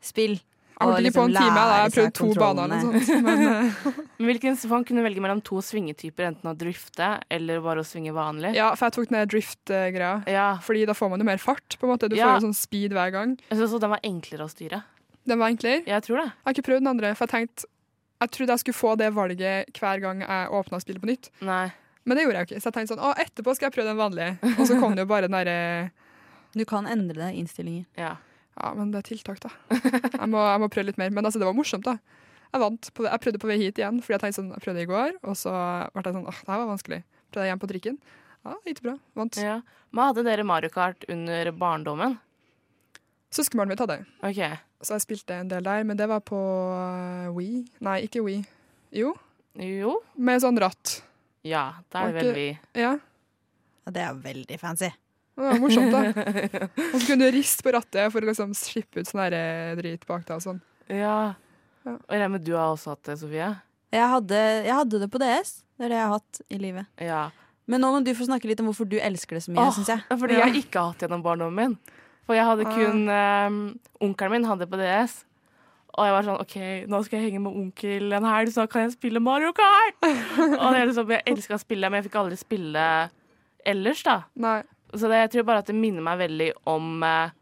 Speaker 5: spill.
Speaker 6: Jeg holdt ikke på
Speaker 5: liksom
Speaker 6: en time, da.
Speaker 5: lære
Speaker 6: jeg
Speaker 5: seg
Speaker 6: prøvde to baner eller
Speaker 5: kontrollene.
Speaker 6: noe sånt.
Speaker 5: [laughs]
Speaker 6: Men eh,
Speaker 3: Men hvilken man kunne velge mellom to svingetyper, enten å drifte eller bare å svinge vanlig?
Speaker 6: ja, for jeg tok den der drift-greia.
Speaker 3: ja.
Speaker 6: Fordi da får man jo mer fart, på en måte. Du
Speaker 3: Ja.
Speaker 6: får jo sånn speed hver gang.
Speaker 3: Jeg synes også den var enklere å styre.
Speaker 6: Den var enklere.
Speaker 3: Jeg tror det.
Speaker 6: Jeg har ikke prøvd den andre, for jeg tenkte jeg trodde jeg skulle få det valget hver gang jeg åpna spillet på nytt.
Speaker 3: Nei.
Speaker 6: Men det gjorde jeg jo ikke. Så jeg tenkte sånn, å, etterpå skal jeg prøve den vanlige. Og så kom det jo bare den derre
Speaker 5: Du kan endre det i innstillinger.
Speaker 3: Ja.
Speaker 6: Ja, men det er tiltak, da. Jeg må, jeg må prøve litt mer. Men altså, det var morsomt, da. Jeg vant. På, jeg prøvde på vei hit igjen, fordi jeg tenkte sånn, jeg prøvde i går, og så ble jeg sånn åh, det her var vanskelig. Prøvde jeg igjen på trikken. Ja, det gikk bra. Vant.
Speaker 3: ja. Men hadde dere Mario Kart under barndommen?
Speaker 6: Søskenbarnet mitt hadde jeg.
Speaker 3: OK.
Speaker 6: så jeg spilte en del der, men det var på øh, Wii. Nei, ikke Wii. Jo,
Speaker 3: Jo.
Speaker 6: med sånn ratt.
Speaker 3: Ja, da er det vel vi.
Speaker 6: Ja.
Speaker 5: Ja, det er veldig fancy.
Speaker 6: Det var morsomt, da. Og så kunne du riste på rattet for å liksom slippe ut sånn her, eh, drit bak deg og sånn.
Speaker 3: Ja.
Speaker 6: Ja.
Speaker 3: Og jeg regner med du har også hatt det, Sofie?
Speaker 5: Jeg hadde, jeg hadde det på DS. Det er det jeg har hatt i livet.
Speaker 3: Ja.
Speaker 5: Men nå må du få snakke litt om hvorfor du elsker det så mye,
Speaker 3: Åh,
Speaker 5: syns jeg.
Speaker 3: det er Fordi jeg ikke har hatt gjennom barndommen min. For jeg hadde
Speaker 6: Ah.
Speaker 3: kun ehm, Onkelen min hadde på DS. Og jeg var sånn OK, nå skal jeg henge med onkel en helg, så da kan jeg spille Mario Kart! og det er liksom, jeg elska å spille, men jeg fikk aldri spille ellers, da.
Speaker 6: Nei.
Speaker 3: Så det, jeg tror bare at det minner meg veldig om eh,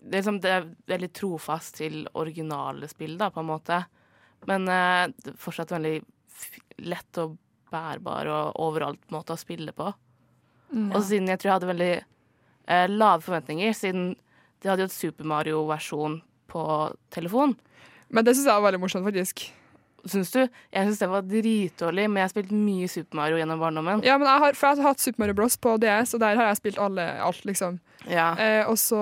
Speaker 3: det, er liksom, det er veldig trofast til originale spill, da, på en måte. Men eh, det er fortsatt veldig f- lett og bærbar og overalt på en måte å
Speaker 6: Mm,
Speaker 3: spille på. Og siden jeg tror jeg hadde veldig eh, lave forventninger, siden De hadde jo et Super Mario-versjon på telefon.
Speaker 6: Men det syns jeg var veldig morsomt, faktisk.
Speaker 3: Syns du? Jeg syns det var dritdårlig, men jeg har spilt mye Super Mario gjennom barndommen.
Speaker 6: Ja, men jeg har, for jeg har hatt Super Mario Bros. på DS, og der har jeg spilt alle, alt, liksom.
Speaker 3: Ja.
Speaker 6: Eh, og så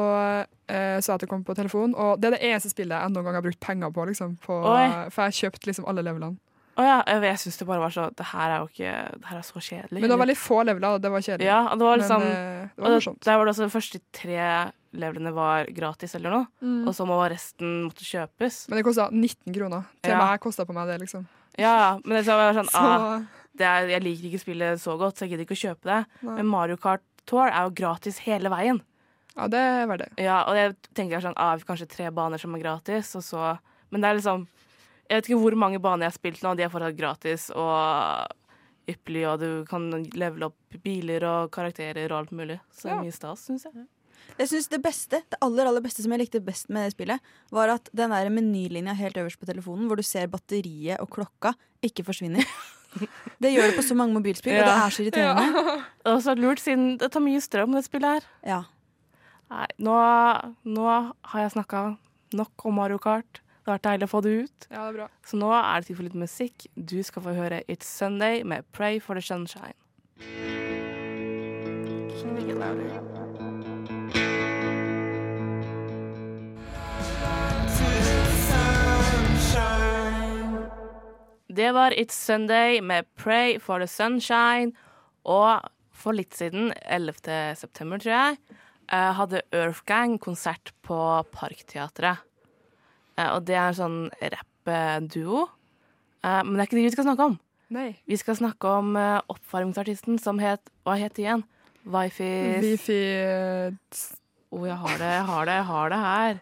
Speaker 6: eh, så jeg at det kom på telefon, og det er det eneste spillet jeg noen gang har brukt penger på. liksom. På,
Speaker 3: Oi.
Speaker 6: for jeg har kjøpt liksom alle levelene.
Speaker 3: Å ja, jeg, jeg syns det bare var så Det her er jo ikke Det her er så kjedelig.
Speaker 6: Men det var veldig få leveler, og det var kjedelig.
Speaker 3: Ja, og det var liksom
Speaker 6: Men, eh, det
Speaker 3: og
Speaker 6: var morsomt.
Speaker 3: Der var det også de første tre levelene var gratis eller noe,
Speaker 6: Mm.
Speaker 3: og så må resten måtte kjøpes.
Speaker 6: Men det kosta 19 kroner. Til
Speaker 3: Ja.
Speaker 6: meg kosta på meg det, liksom.
Speaker 3: Ja, ja, men det så var jeg sånn
Speaker 6: Så
Speaker 3: ah, det er, Jeg liker ikke spillet så godt, så jeg gidder ikke å kjøpe det.
Speaker 6: Nei.
Speaker 3: Men Mario Kart Tour er jo gratis hele veien.
Speaker 6: ja, det var det.
Speaker 3: Ja, og jeg tenker sånn ah, Kanskje tre baner som er gratis, og så Men det er liksom Jeg vet ikke hvor mange baner jeg har spilt nå, de er fortsatt gratis og ypperlig, og du kan levele opp biler og karakterer og alt mulig. Så det er
Speaker 5: Ja.
Speaker 3: mye stas, syns jeg.
Speaker 5: Jeg synes Det beste, det aller aller beste som jeg likte best med det spillet, var at den der menylinja helt øverst på telefonen, hvor du ser batteriet og klokka,
Speaker 3: [laughs]
Speaker 5: ikke forsvinner. Det gjør det på så mange mobilspill, og det er så irriterende.
Speaker 3: Det er også lurt, siden det tar mye strøm, det spillet her.
Speaker 5: Ja.
Speaker 3: Nei, nå, nå har jeg snakka nok om Mario Kart. Det har vært deilig å få det ut.
Speaker 6: Ja, det er bra.
Speaker 3: Så nå er det tid for litt musikk. Du skal få høre It's Sunday med Pray for the Sunshine. Det var It's Sunday med Pray for the Sunshine. Og for litt siden, 11. september, tror jeg, eh, hadde Earthgang konsert på Parkteatret. Eh, Og det er en sånn rappduo. Men det er ikke de vi skal snakke om.
Speaker 6: Nei.
Speaker 3: Vi skal snakke om eh, oppvarmingsartisten som het Hva het de igjen? Wifi
Speaker 6: Wifi eh, tss,
Speaker 3: Å, jeg har det, jeg har det, jeg har det her.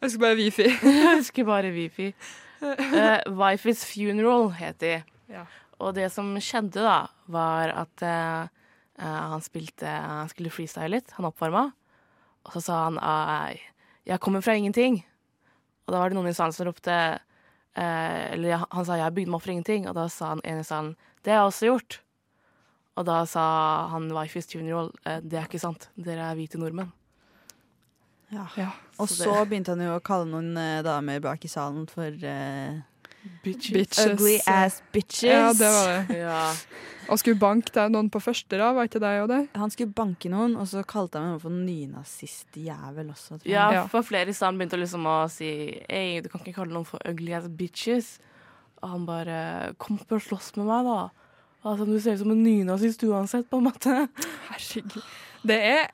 Speaker 6: Jeg husker bare Wifi.
Speaker 3: Jeg husker bare Wifi. Uh, Wifis Funeral het de.
Speaker 6: Ja.
Speaker 3: Og det som skjedde, da, var at eh, eh, han spilte Han skulle freestyle litt. Han oppvarma. Og så sa han «Ei, 'Jeg kommer fra ingenting'. Og da var det noen i salen som ropte eh, Eller ja, han sa 'Jeg bygde meg opp for ingenting', og da sa han en i salen 'Det har jeg også gjort'. Og da sa han Wifis Funeral eh, 'Det er ikke sant. Dere er hvite nordmenn'.
Speaker 5: Ja.
Speaker 6: Ja.
Speaker 5: Og
Speaker 3: Så det-
Speaker 5: så begynte han jo å kalle noen eh, damer bak i salen for eh,
Speaker 6: Bitches.
Speaker 5: ugly ass bitches.
Speaker 6: Ja, det var det.
Speaker 3: [laughs] Ja.
Speaker 6: Og skulle banke deg noen på første rad, var ikke det og det?
Speaker 5: Han skulle banke noen, og så kalte han henne for nynazistjævel også, tror jeg.
Speaker 3: Ja,
Speaker 6: Ja.
Speaker 3: for flere i salen begynte liksom å si Ei, du kan ikke kalle noen for ugly ass bitches. Og han bare Kom opp og slåss med meg, da. Altså, du ser ut som en nynazist uansett, på en måte.
Speaker 6: Herregud. Det er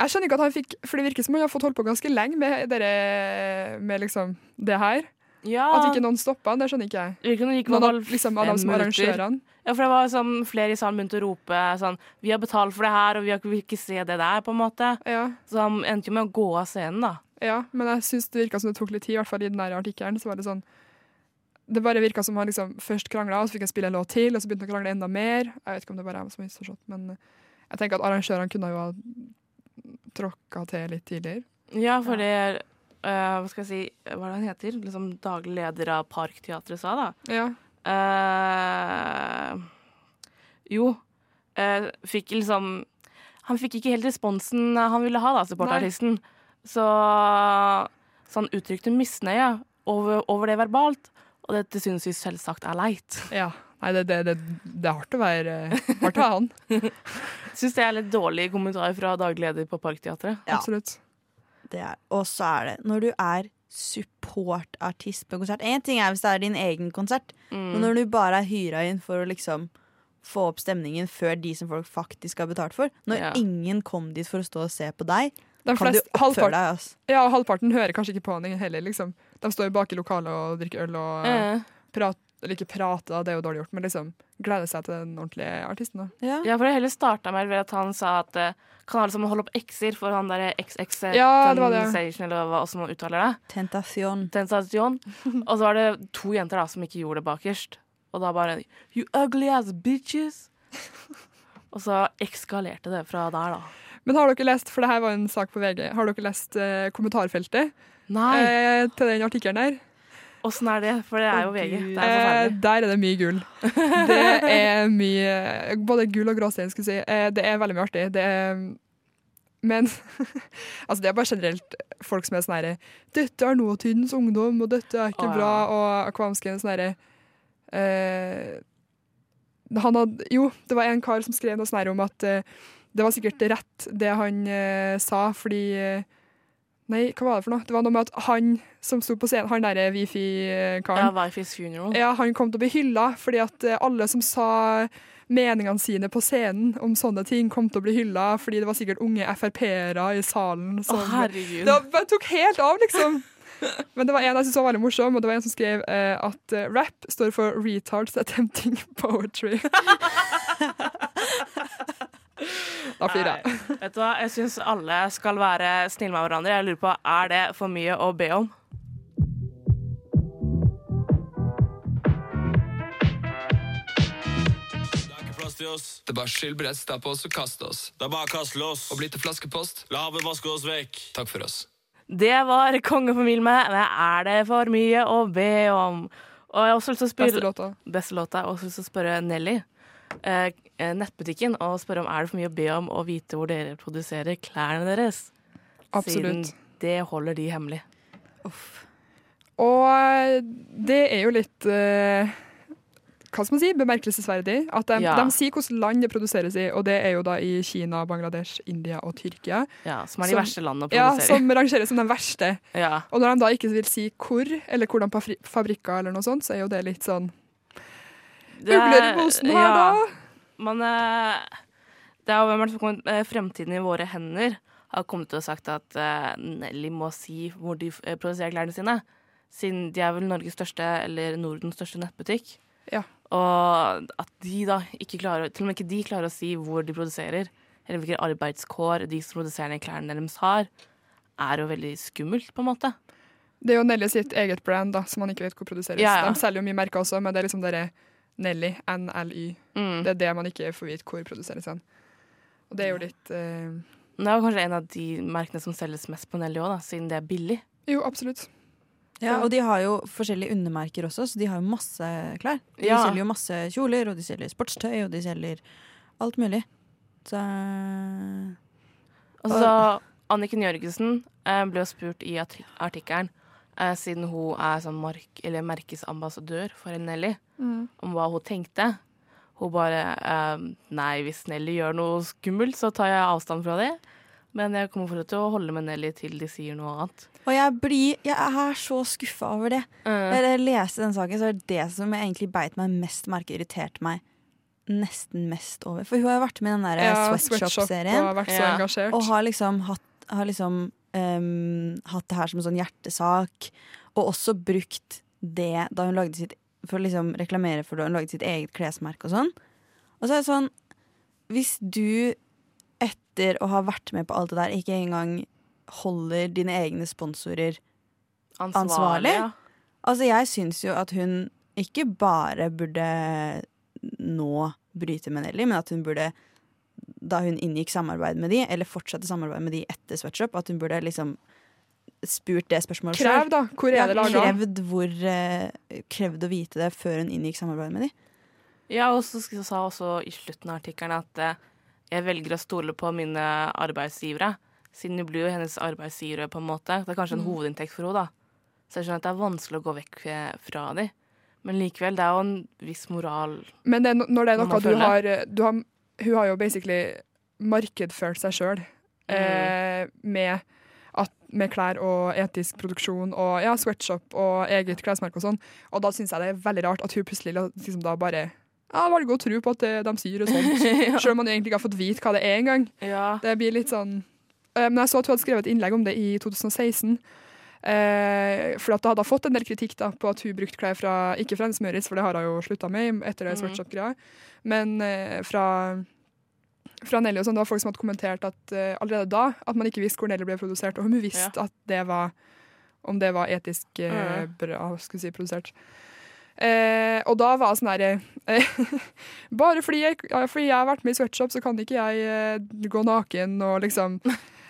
Speaker 6: Jeg skjønner ikke at han fikk For det virker som han har fått holdt på ganske lenge med, dere, med liksom det her.
Speaker 3: Ja,
Speaker 6: At ikke noen stoppa han, det skjønner ikke jeg.
Speaker 3: Virker som det gikk
Speaker 6: Noen av,
Speaker 3: vel
Speaker 6: liksom, av
Speaker 3: fem
Speaker 6: dem som
Speaker 3: minutter.
Speaker 6: arrangørene.
Speaker 3: Ja, for det var sånn flere i salen begynte å rope sånn Vi har betalt for det her, og vi har ikke- vil ikke se det der, på en måte.
Speaker 6: Ja,
Speaker 3: Så han endte jo med å gå av scenen, da.
Speaker 6: ja, men jeg syns det virka som det tok litt tid, i hvert fall i den der artikkelen. Så var det sånn Det bare virka som han liksom først krangla, og så fikk han spille en låt til, og så begynte han å krangle enda mer. Jeg vet ikke om det bare er jeg som har misforstått, men eh, jeg tenker at arrangørene kunne jo ha tråkka til litt tidligere.
Speaker 3: Ja, for det eh, Hva skal jeg si Hva er det han heter? Liksom daglig leder av Parkteatret sa, da.
Speaker 6: Ja.
Speaker 3: eh jo, eh, fikk liksom Han fikk ikke helt responsen han ville ha, da, supportartisten. Så, så han uttrykte misnøye over, over det verbalt, og dette synes vi selvsagt er leit. [laughs]
Speaker 6: Ja. Nei, det, det, det, det er hardt å være eh, Hardt å være
Speaker 5: [laughs]
Speaker 6: han.
Speaker 3: Syns det er litt dårlig kommentar fra daglig leder på Parkteatret.
Speaker 5: Ja.
Speaker 6: Absolutt.
Speaker 5: Det er, og så er det Når du er supportartist på konsert Én ting er hvis det er din egen konsert, men når du bare er hyra inn for å liksom få opp stemningen før de som folk faktisk har betalt for Når
Speaker 3: Ja.
Speaker 5: ingen kom dit for å stå og se på deg,
Speaker 6: De
Speaker 5: kan
Speaker 6: flest,
Speaker 5: du oppføre
Speaker 6: halvparten,
Speaker 5: deg. ass.
Speaker 6: ja, og halvparten hører kanskje ikke på han heller, liksom. De står bak i lokalet og drikker øl og eh,
Speaker 3: Eh,
Speaker 6: prater, eller ikke prater, det er jo dårlig gjort, men liksom gleder seg til den ordentlige artisten. Da.
Speaker 5: Ja.
Speaker 3: ja, for det hele starta med at han sa at eh, kan alle sammen holde opp x-er for han derre xx
Speaker 6: Ja, det var det.
Speaker 3: eller hva som uttaler det.
Speaker 5: Tentasjon.
Speaker 3: sensasjon. Og så var det to jenter da som ikke gjorde det bakerst. Og da bare You ugly ass bitches! Og så ekskalerte det fra der, da.
Speaker 6: Men har dere lest, for det her var en sak på VG, har dere lest eh, kommentarfeltet
Speaker 3: Nei!
Speaker 6: eh, til den artikkelen her?
Speaker 3: Åssen er det? For det er jo VG. Det er
Speaker 6: Eh,
Speaker 3: forferdelig.
Speaker 6: der er det mye
Speaker 3: [laughs]
Speaker 6: gull. Det er mye Både gull og gråstein, skulle jeg si. Eh, det er veldig mye artig. Det er Men [laughs] altså det er bare generelt folk som er sånn herre 'Dette er nåtidens ungdom, og dette er ikke
Speaker 11: Å, ja.
Speaker 6: bra', og akvamsken sånn herre eh, han hadde, jo, det var en kar som skrev noe sånn her om at eh, det var sikkert rett det han eh, sa, fordi eh, Nei, hva var det for noe? Det var noe med at han som sto på scenen, han derre
Speaker 3: Ja,
Speaker 6: wifi-karen
Speaker 3: Wifis funeral.
Speaker 6: [laughs] ja, han kom til å bli hylla, fordi at eh, alle som sa meningene sine på scenen om sånne ting, kom til å bli hylla, fordi det var sikkert unge Frp-ere i salen. Som,
Speaker 3: herregud.
Speaker 6: Det var- bare tok helt av, liksom. [laughs] Men det var en jeg syntes var veldig morsom, og det var en som skrev eh, at eh, rap står for retards attempting
Speaker 3: [laughs]
Speaker 6: poetry. [laughs] da flirer jeg.
Speaker 3: Nei, Vet du hva, jeg syns alle skal være snille med hverandre. Jeg lurer på, er det for mye å be om?
Speaker 12: plass til oss. Det er bare skyld bretta på oss og kast oss. Det er bare kast loss. Og bli til flaskepost. La havet vaske oss vekk. Takk for oss.
Speaker 3: Det var Kongefamilien med «Men Er det for mye å be om? Og jeg har også lyst til å spørre
Speaker 6: Beste låta.
Speaker 3: Beste låta. Jeg har også lyst til å spørre Nelly, eh, eh, nettbutikken, og spørre om er det for mye å be om å vite hvor dere produserer klærne deres?
Speaker 6: Absolutt.
Speaker 3: Siden det holder de hemmelig.
Speaker 6: Og det er jo litt eh, hva skal man si, bemerkelsesverdig. At de,
Speaker 3: Ja.
Speaker 6: de sier hvilket land det produseres i, og det er jo da i Kina, Bangladesh, India og Tyrkia.
Speaker 3: Ja, som er de verste landene å
Speaker 6: Ja,
Speaker 3: produsere i.
Speaker 6: som rangeres som de verste.
Speaker 3: [laughs] Ja.
Speaker 6: Og når de da ikke vil si hvor, eller hvordan på fri- fabrikker, eller noe sånt, så er jo det litt sånn
Speaker 3: Det er-
Speaker 6: Ugler i mosen her, da.
Speaker 3: Men eh, det er jo hvem er det som kommer eh, Fremtiden i våre hender har kommet til å sagt at eh, Nelly må si hvor de eh, produserer klærne sine. Siden de er vel Norges største, eller Nordens største nettbutikk.
Speaker 6: Ja.
Speaker 3: Og at de da ikke klarer, til og med ikke de klarer å si hvor de produserer, eller hvilke arbeidskår de som produserer de klærne deres har, er jo veldig skummelt, på en måte.
Speaker 6: Det er jo Nelly sitt eget brand, da, som man ikke vet hvor produseres.
Speaker 3: Ja, ja.
Speaker 6: De selger jo mye merker også, men det er liksom dere Nelly, NLY.
Speaker 3: Mm.
Speaker 6: Det er det man ikke får vite hvor produseres hen. Og det er jo litt eh,
Speaker 3: Men det er jo kanskje en av de merkene som selges mest på Nelly òg, siden det er billig.
Speaker 6: Jo, absolutt.
Speaker 5: Ja, og de har jo forskjellige undermerker også, så de har jo masse klær. De
Speaker 3: Ja.
Speaker 5: selger jo masse kjoler, og de selger sportstøy, og de selger alt mulig. Så
Speaker 3: Altså, Anniken Jørgensen eh, ble jo spurt i arti- artikkelen, eh, siden hun er sånn mark eller merkesambassadør for Nelly,
Speaker 6: Mm.
Speaker 3: om hva hun tenkte. Hun bare eh, Nei, hvis Nelly gjør noe skummelt, så tar jeg avstand fra det. Men jeg kommer fortsatt til å holde med Nelly til de sier noe annet.
Speaker 5: Og jeg blir Jeg er så skuffa over det.
Speaker 3: Mm.
Speaker 5: Når jeg leste den saken, så er det det som jeg egentlig beit meg mest merke irriterte meg nesten mest over. For hun har jo vært med i den der
Speaker 6: Ja,
Speaker 5: eh, sweatshop-serien.
Speaker 6: Sweatshop og vært så Ja. engasjert.
Speaker 5: Og har liksom hatt, har liksom, ehm, hatt det her som en sånn hjertesak. Og også brukt det da hun lagde sitt For å liksom reklamere for det, hun lagde sitt eget klesmerke og sånn. Og så er det sånn Hvis du etter å ha vært med på alt det der, ikke engang holder dine egne sponsorer
Speaker 3: Ansvarlig,
Speaker 5: ansvarlig.
Speaker 3: ja.
Speaker 5: Altså, jeg syns jo at hun ikke bare burde nå bryte med Nelly, men at hun burde da hun inngikk samarbeid med de, eller fortsatte samarbeid med de etter Sweatshop, at hun burde liksom spurt det spørsmålet
Speaker 6: Krev,
Speaker 5: selv.
Speaker 6: da. Hvor er
Speaker 5: Ja,
Speaker 6: det laget?
Speaker 5: Krevd, hvor, eh, krevd å vite det før hun inngikk samarbeid med de.
Speaker 3: Ja, og så sk- sa også i slutten av artikkelen at eh, jeg velger å stole på mine arbeidsgivere, siden det blir jo hennes arbeidsgivere på en måte. Det er kanskje en
Speaker 13: Mm.
Speaker 3: hovedinntekt for henne, da. Så jeg skjønner at det er vanskelig å gå vekk eh, fra dem. Men likevel, det er jo en viss moral
Speaker 6: [laughs]
Speaker 3: [laughs]
Speaker 6: Men det, er no- når det
Speaker 3: Må
Speaker 6: er noe
Speaker 3: man
Speaker 6: du
Speaker 3: følge?
Speaker 6: har, eh, du har Hun har jo basically markedført seg sjøl eh, med, at- med klær og etisk produksjon og ja, sweatshop og eget klesmerke og sånn. Og da syns jeg det er veldig rart at hun plutselig la- liksom da bare ja, velger å tro på at det, de sier og sånt,
Speaker 3: [laughs] Ja.
Speaker 6: sjøl om man egentlig ikke har fått vite hva det er engang.
Speaker 3: Ja.
Speaker 6: Det blir litt sånn Eh, Men jeg så at hun hadde skrevet et innlegg om det i 2016. Eh, for at da hadde hun fått en del kritikk da, på at hun brukte klær fra, ikke fra Hennes Møritz, for det har hun jo slutta med etter det
Speaker 14: Mhm.
Speaker 6: sweatshop-greia, men eh, fra, fra Nelly og sånn. Det var folk som hadde kommentert at eh, allerede da at man ikke visste hvor Nelly ble produsert, og hun visste at det var om det var etisk eh,
Speaker 14: Mhm.
Speaker 6: bra skulle jeg si, produsert. Eh, og da var jeg sånn her eh, [laughs] Bare fordi jeg, ja, fordi jeg har vært med i sweatshop, så kan ikke jeg eh, gå naken og
Speaker 3: [laughs]
Speaker 6: liksom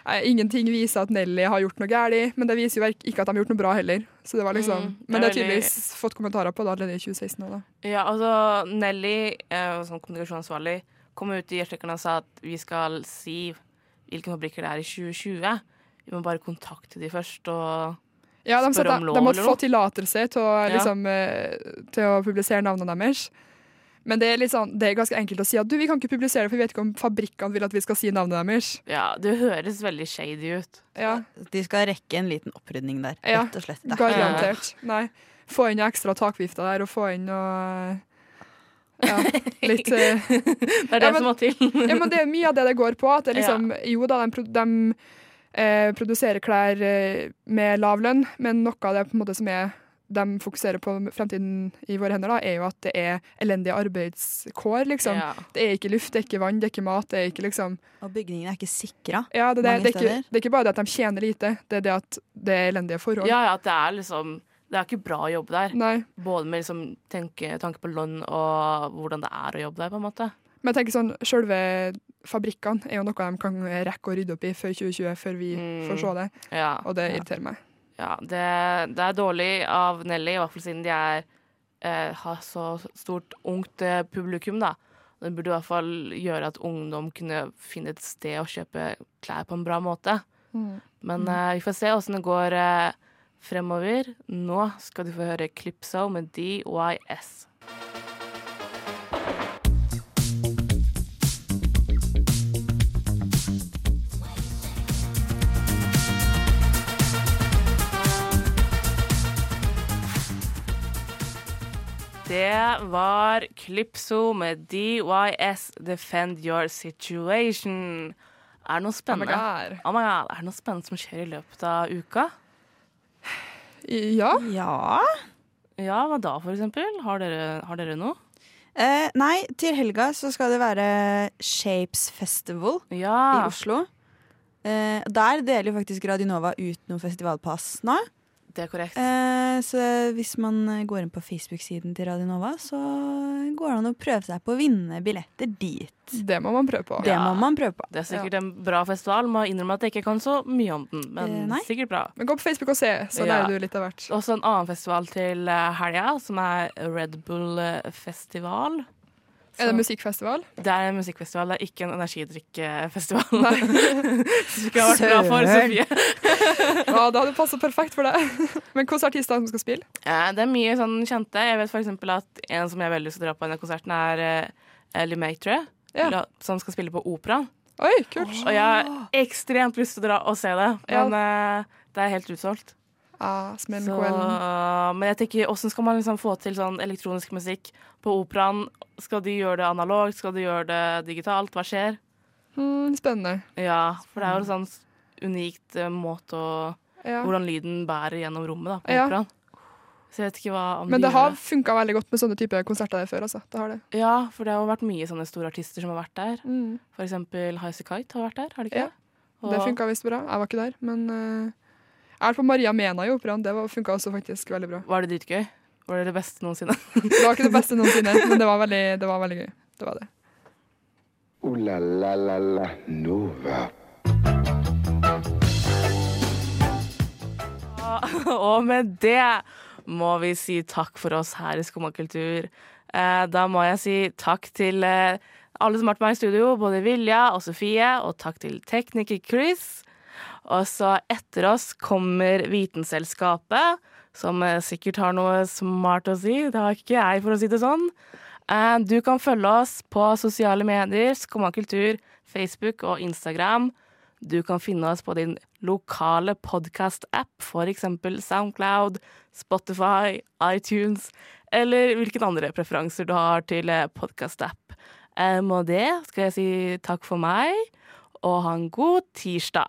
Speaker 6: eh, Ingenting viser at Nelly har gjort noe galt, men det viser jo ikke at de har gjort noe bra heller. Så det var liksom,
Speaker 3: Mm, det er
Speaker 6: men det har
Speaker 3: veldig-
Speaker 6: tydeligvis fått kommentarer på det allerede i 2016 òg, da.
Speaker 3: Ja, altså Nelly, eh, som kommunikasjonsansvarlig, kom ut i artikkelen og sa at vi skal si hvilke fabrikker det er i 2020. Vi må bare kontakte de først og
Speaker 6: Ja, de, sa
Speaker 3: spørre om
Speaker 6: at de,
Speaker 3: lov.
Speaker 6: de måtte
Speaker 3: eller
Speaker 6: få
Speaker 3: noe.
Speaker 6: tillatelse til å,
Speaker 3: Ja.
Speaker 6: liksom, eh, til å publisere navnene deres. Men det er, litt sånn, det er ganske enkelt å si at du, vi kan ikke publisere det, for vi vet ikke om fabrikkene vil at vi skal si navnet deres.
Speaker 3: Ja, det høres veldig shady ut.
Speaker 6: Ja.
Speaker 5: De skal rekke en liten opprydning der,
Speaker 6: Ja,
Speaker 5: rett og slett. Det er
Speaker 6: Garantert. Nei. Få inn noe ekstra takvifter der, og få inn noe
Speaker 5: [laughs]
Speaker 6: ja, litt eh,
Speaker 3: Det er det
Speaker 6: ja, men-
Speaker 3: som må til.
Speaker 6: ja, men det er mye av det det går på. At det er liksom, Jo da, de, pro- de eh, produserer klær eh, med lav lønn, men noe av det på en måte som er de fokuserer på fremtiden i våre hender, da, er jo at det er elendige arbeidskår. liksom.
Speaker 5: Ja.
Speaker 6: Det er ikke luft, det er ikke vann, det er ikke mat. det er ikke liksom...
Speaker 5: Og bygningene er ikke sikra.
Speaker 6: Ja, det, er det,
Speaker 5: mange
Speaker 6: det, er ikke,
Speaker 5: steder.
Speaker 6: det er ikke bare det at de tjener lite, det er det at det er elendige forhold.
Speaker 3: Ja, ja, at det er liksom Det er ikke bra å jobbe der.
Speaker 6: Nei.
Speaker 3: Både med liksom tenke, tanke på lønn og hvordan det er å jobbe der, på en måte.
Speaker 6: Men jeg tenker sånn, selve fabrikkene er jo noe de kan rekke å rydde opp i før 2020, før vi får se det.
Speaker 3: Ja.
Speaker 6: Og det irriterer meg.
Speaker 3: Mm. Ja, det, det er dårlig av Nelly, i hvert fall siden de er, eh, har så stort ungt eh, publikum, da. Det burde i hvert fall gjøre at ungdom kunne finne et sted å kjøpe klær på en bra måte.
Speaker 6: Mm.
Speaker 3: Men eh, vi får se åssen det går eh, fremover. Nå skal du få høre Clipso med DYS. Det var Clipso med DYS Defend Your Situation. Er det noe spennende?
Speaker 6: Oh my god.
Speaker 3: Er det noe spennende som skjer i løpet av uka?
Speaker 6: Ja.
Speaker 5: Ja.
Speaker 3: Ja, hva da, for eksempel? Har dere, har dere noe?
Speaker 5: Eh, nei, til helga så skal det være Shapes Festival
Speaker 3: Ah.
Speaker 5: i Oslo. Eh, der deler jo faktisk Radionova ut noen festivalpass nå.
Speaker 3: Det er korrekt.
Speaker 5: Eh, så hvis man eh, går inn på Facebook-siden til Radionova, så går det an å prøve seg på å vinne billetter dit.
Speaker 6: Det må man prøve på.
Speaker 5: Det må man prøve på.
Speaker 3: Det er sikkert en bra festival. Må innrømme at jeg ikke kan så mye om den, men
Speaker 6: Eh, nei.
Speaker 3: sikkert bra.
Speaker 6: Men gå på Facebook og se, så
Speaker 3: Ja.
Speaker 6: lærer du litt av hvert.
Speaker 3: Også en annen festival til eh, helga, som er Red Bull eh, Festival.
Speaker 6: Er det
Speaker 3: Så-
Speaker 6: musikkfestival?
Speaker 3: Det er en musikkfestival, det er ikke en energidrikkefestival. [laughs] Så det skulle vært bra for
Speaker 6: Søren.
Speaker 3: Sofie.
Speaker 6: Ja, det hadde passet perfekt for deg. [laughs] Men hvilke artister er det som skal spille?
Speaker 3: Eh, Det er mye sånn kjente. Jeg vet for eksempel at en som jeg veldig lyst til å dra på denne konserten, er eh, Ellie May, tror jeg. La- Som skal spille på operaen.
Speaker 6: Oi, kult.
Speaker 3: Og jeg har ekstremt lyst til å dra og se det, men eh, det er helt utsolgt.
Speaker 6: smell
Speaker 3: Så,
Speaker 6: kvelden.
Speaker 3: men jeg tenker, hvordan skal man liksom få til sånn elektronisk musikk på operaen? Skal de gjøre det analogt? Skal de gjøre det digitalt? Hva skjer?
Speaker 6: Mm, spennende.
Speaker 3: Ja, for det er jo en sånn unikt eh, måte å
Speaker 6: Ja.
Speaker 3: Hvordan lyden bærer gjennom rommet da, på
Speaker 6: Ja.
Speaker 3: operaen. Så jeg vet ikke hva om
Speaker 6: Men
Speaker 3: de
Speaker 6: det
Speaker 3: gjør
Speaker 6: har funka veldig godt med sånne type konserter der før. altså. Det har det.
Speaker 3: Ja, for det har jo vært mye sånne store artister som har vært der.
Speaker 6: Mm.
Speaker 3: For eksempel Highasakite Kite har vært der, har det ikke
Speaker 6: Ja,
Speaker 3: det? Og-
Speaker 6: Det funka visst bra. Jeg var ikke der, men eh, jeg har vært på Maria Mena i operaen. Det var- funka også faktisk veldig bra.
Speaker 3: Var det dritgøy? Var det det beste noensinne?
Speaker 6: Det var ikke det beste noensinne, men det var veldig, det var veldig gøy. Det var det.
Speaker 2: Ooh la la la la Nova.
Speaker 3: [laughs] Og med det må vi si takk for oss her i Skumma kultur. Eh, da må jeg si takk til eh, alle som har vært med meg i studio, både Vilja og Sofie, og takk til tekniker Chris. Og så etter oss kommer Vitenselskapet, som eh, sikkert har noe smart å si. Det har ikke jeg, for å si det sånn. Eh, du kan følge oss på sosiale medier, Skumma kultur, Facebook og Instagram. Du kan finne oss på din lokale podkast-app, f.eks. Soundcloud, Spotify, iTunes, eller hvilken andre preferanser du har til eh, podkast-app. Eh, Med det skal jeg si takk for meg, og ha en god tirsdag.